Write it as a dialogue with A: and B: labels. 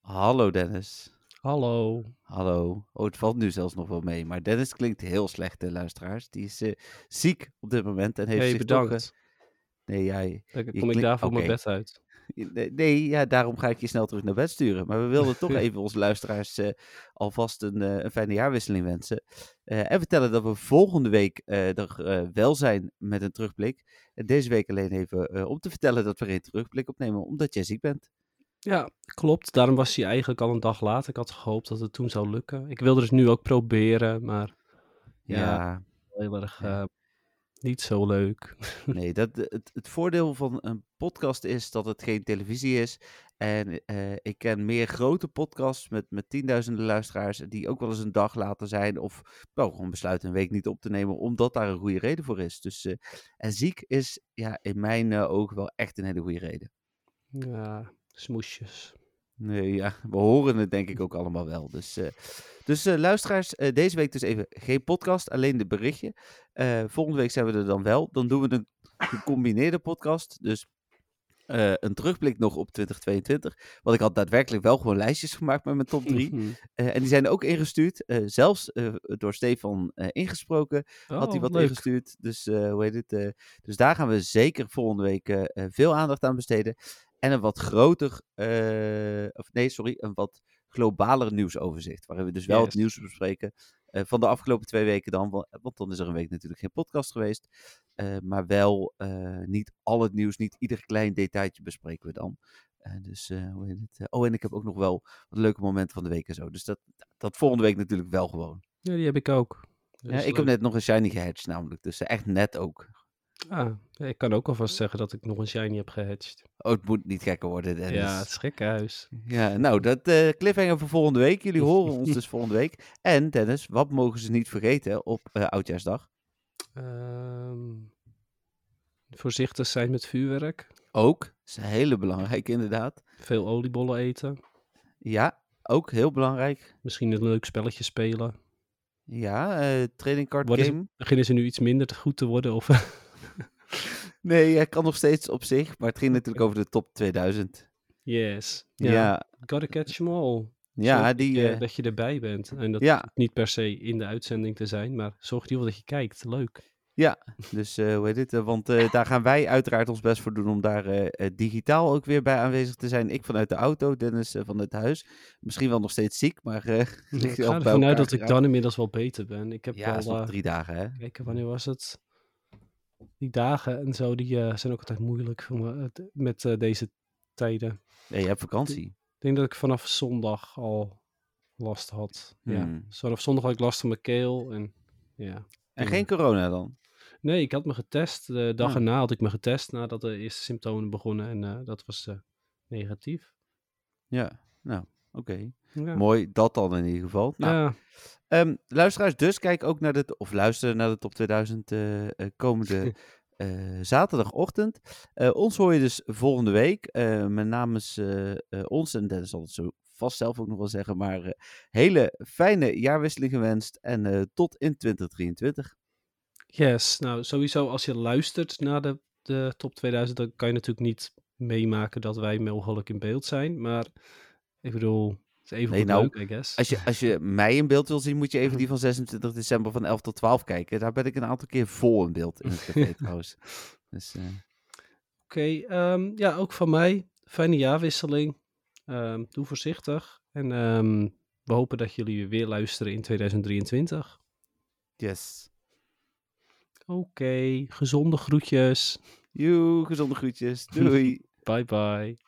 A: Hallo Dennis.
B: Hallo.
A: Hallo. Oh, het valt nu zelfs nog wel mee. Maar Dennis klinkt heel slecht, de luisteraars. Die is eh, ziek op dit moment en heeft
B: hey,
A: zich
B: bedankt.
A: toch, eh, nee, jij.
B: Dan kom
A: klink-
B: ik daarvoor mijn
A: oké.
B: bed uit.
A: Nee, nee, ja, daarom ga ik je snel terug naar bed sturen. Maar we wilden toch even onze luisteraars eh, alvast een, eh, een fijne jaarwisseling wensen. Eh, en vertellen dat we volgende week eh, er eh, wel zijn met een terugblik. En deze week alleen even eh, om te vertellen dat we geen terugblik opnemen, omdat jij ziek bent.
B: Ja, klopt. Daarom was hij eigenlijk al een dag later. Ik had gehoopt dat het toen zou lukken. Ik wilde het nu ook proberen, maar ja, heel erg
A: Ja.
B: eh, niet zo leuk.
A: Nee, dat, eh, het, het voordeel van een podcast is dat het geen televisie is. En eh, ik ken meer grote podcasts met, met tienduizenden luisteraars die ook wel eens een dag later zijn. Of nou, gewoon besluiten een week niet op te nemen, omdat daar een goede reden voor is. Dus, eh, en ziek is ja, in mijn eh, ogen wel echt een hele goede reden.
B: Ja, smoesjes.
A: Nee, ja, we horen het denk ik ook allemaal wel. Dus, eh, dus eh, luisteraars, eh, deze week dus even geen podcast, alleen de berichtje. Eh, volgende week zijn we er dan wel. Dan doen we een gecombineerde podcast. Dus eh, een terugblik nog op 2022. Want ik had daadwerkelijk wel gewoon lijstjes gemaakt met mijn top 3.
B: Mhm.
A: en die zijn ook ingestuurd. eh, zelfs eh, door Stefan eh, ingesproken had hij
B: Oh,
A: wat
B: leuk.
A: ingestuurd. Dus, eh, hoe heet het, eh, dus daar gaan we zeker volgende week eh, eh, veel aandacht aan besteden. En een wat groter, eh, of nee, sorry, een wat globaler nieuwsoverzicht. Waarin we dus wel het
B: Yes.
A: nieuws bespreken eh, van de afgelopen twee weken dan. wa- Want dan is er een week natuurlijk geen podcast geweest. Eh, maar wel eh, niet al het nieuws, niet ieder klein detailtje bespreken we dan. Eh, dus eh, hoe heet het? eh, oh, en ik heb ook nog wel wat leuke momenten van de week en zo. Dus dat, dat volgende week natuurlijk wel gewoon.
B: Ja, die heb ik ook.
A: Ja,
B: Dus
A: ik heb
B: leuk.
A: net nog een shiny gehedged namelijk, dus eh, echt net ook.
B: Ah, ja, ik kan ook alvast zeggen dat ik nog een shiny heb gehedged.
A: Oh, het moet niet gekker worden, Dennis.
B: Ja, het is gek huis.
A: Ja, nou, dat eh, cliffhanger voor volgende week. Jullie horen ons dus volgende week. En Dennis, wat mogen ze niet vergeten op eh, Oudjaarsdag?
B: Ehm, voorzichtig zijn met vuurwerk.
A: Ook, dat is hele belangrijk inderdaad.
B: Veel oliebollen eten.
A: Ja, ook heel belangrijk.
B: Misschien een leuk spelletje spelen.
A: Ja, eh, training card
B: Wat is-
A: game.
B: Beginnen ze nu iets minder te goed te worden? Of...
A: Nee, hij kan nog steeds op zich, maar het ging natuurlijk over de top 2000.
B: yes.
A: Ja, ja,
B: Gotta catch them all. Zorg
A: die...
B: dat, je,
A: eh,
B: dat je erbij bent. En dat
A: ja,
B: niet per se in de uitzending te zijn, maar zorg in ieder geval dat je kijkt. Leuk.
A: Dus eh, hoe heet dit? eh, want eh, daar gaan wij uiteraard ons best voor doen om daar eh, eh, digitaal ook weer bij aanwezig te zijn. Ik vanuit de auto, Dennis eh, vanuit huis. Misschien wel nog steeds ziek, maar eh,
B: Ik
A: wel bij
B: ga ervan uit
A: elkaar
B: dat ik
A: geraakt.
B: dan inmiddels wel beter ben. Ik heb
A: ja, het is
B: wel...
A: nog
B: eh,
A: drie dagen hè.
B: kijken, wanneer was het? Die dagen en zo, die eh, zijn ook altijd moeilijk voor me, eh, t- met eh, deze tijden.
A: Nee, je hebt vakantie.
B: Ik denk dat ik vanaf zondag al last had. Ja.
A: Hmm.
B: Dus vanaf zondag had ik last van mijn keel. En, ja.
A: En
B: Ja.
A: geen corona dan?
B: Nee, ik had me getest. De dag
A: Ah.
B: erna had ik me getest nadat de eerste symptomen begonnen. En eh, dat was eh, negatief.
A: Ja, nou, oké.
B: Ja.
A: Mooi, dat dan in ieder geval. Nou,
B: ja,
A: Ehm, luisteraars, dus kijk ook naar de, t- of luister naar de top 2000 eh, eh, komende eh, zaterdagochtend. Eh, ons hoor je dus volgende week. Eh met namens eh, eh, ons, en Dennis zal het zo vast zelf ook nog wel zeggen, maar eh, hele fijne jaarwisseling gewenst en eh, tot in 2023.
B: yes. Nou, sowieso als je luistert naar de, de top 2000, dan kan je natuurlijk niet meemaken dat wij mogelijk in beeld zijn. Maar ik bedoel, het is even
A: Nee,
B: goed
A: nou,
B: leuk, I guess.
A: Als je, als je mij in beeld wil zien, moet je even die van 26 december van 11 tot 12 kijken. Daar ben ik een aantal keer vol in beeld in het café trouwens. Dus, eh,
B: Oké, ehm, ja, ook van mij. Fijne jaarwisseling. Ehm, doe voorzichtig. En ehm, we hopen dat jullie weer luisteren in 2023.
A: yes.
B: Oké, gezonde groetjes.
A: Joe, gezonde groetjes. Doei.
B: Bye bye.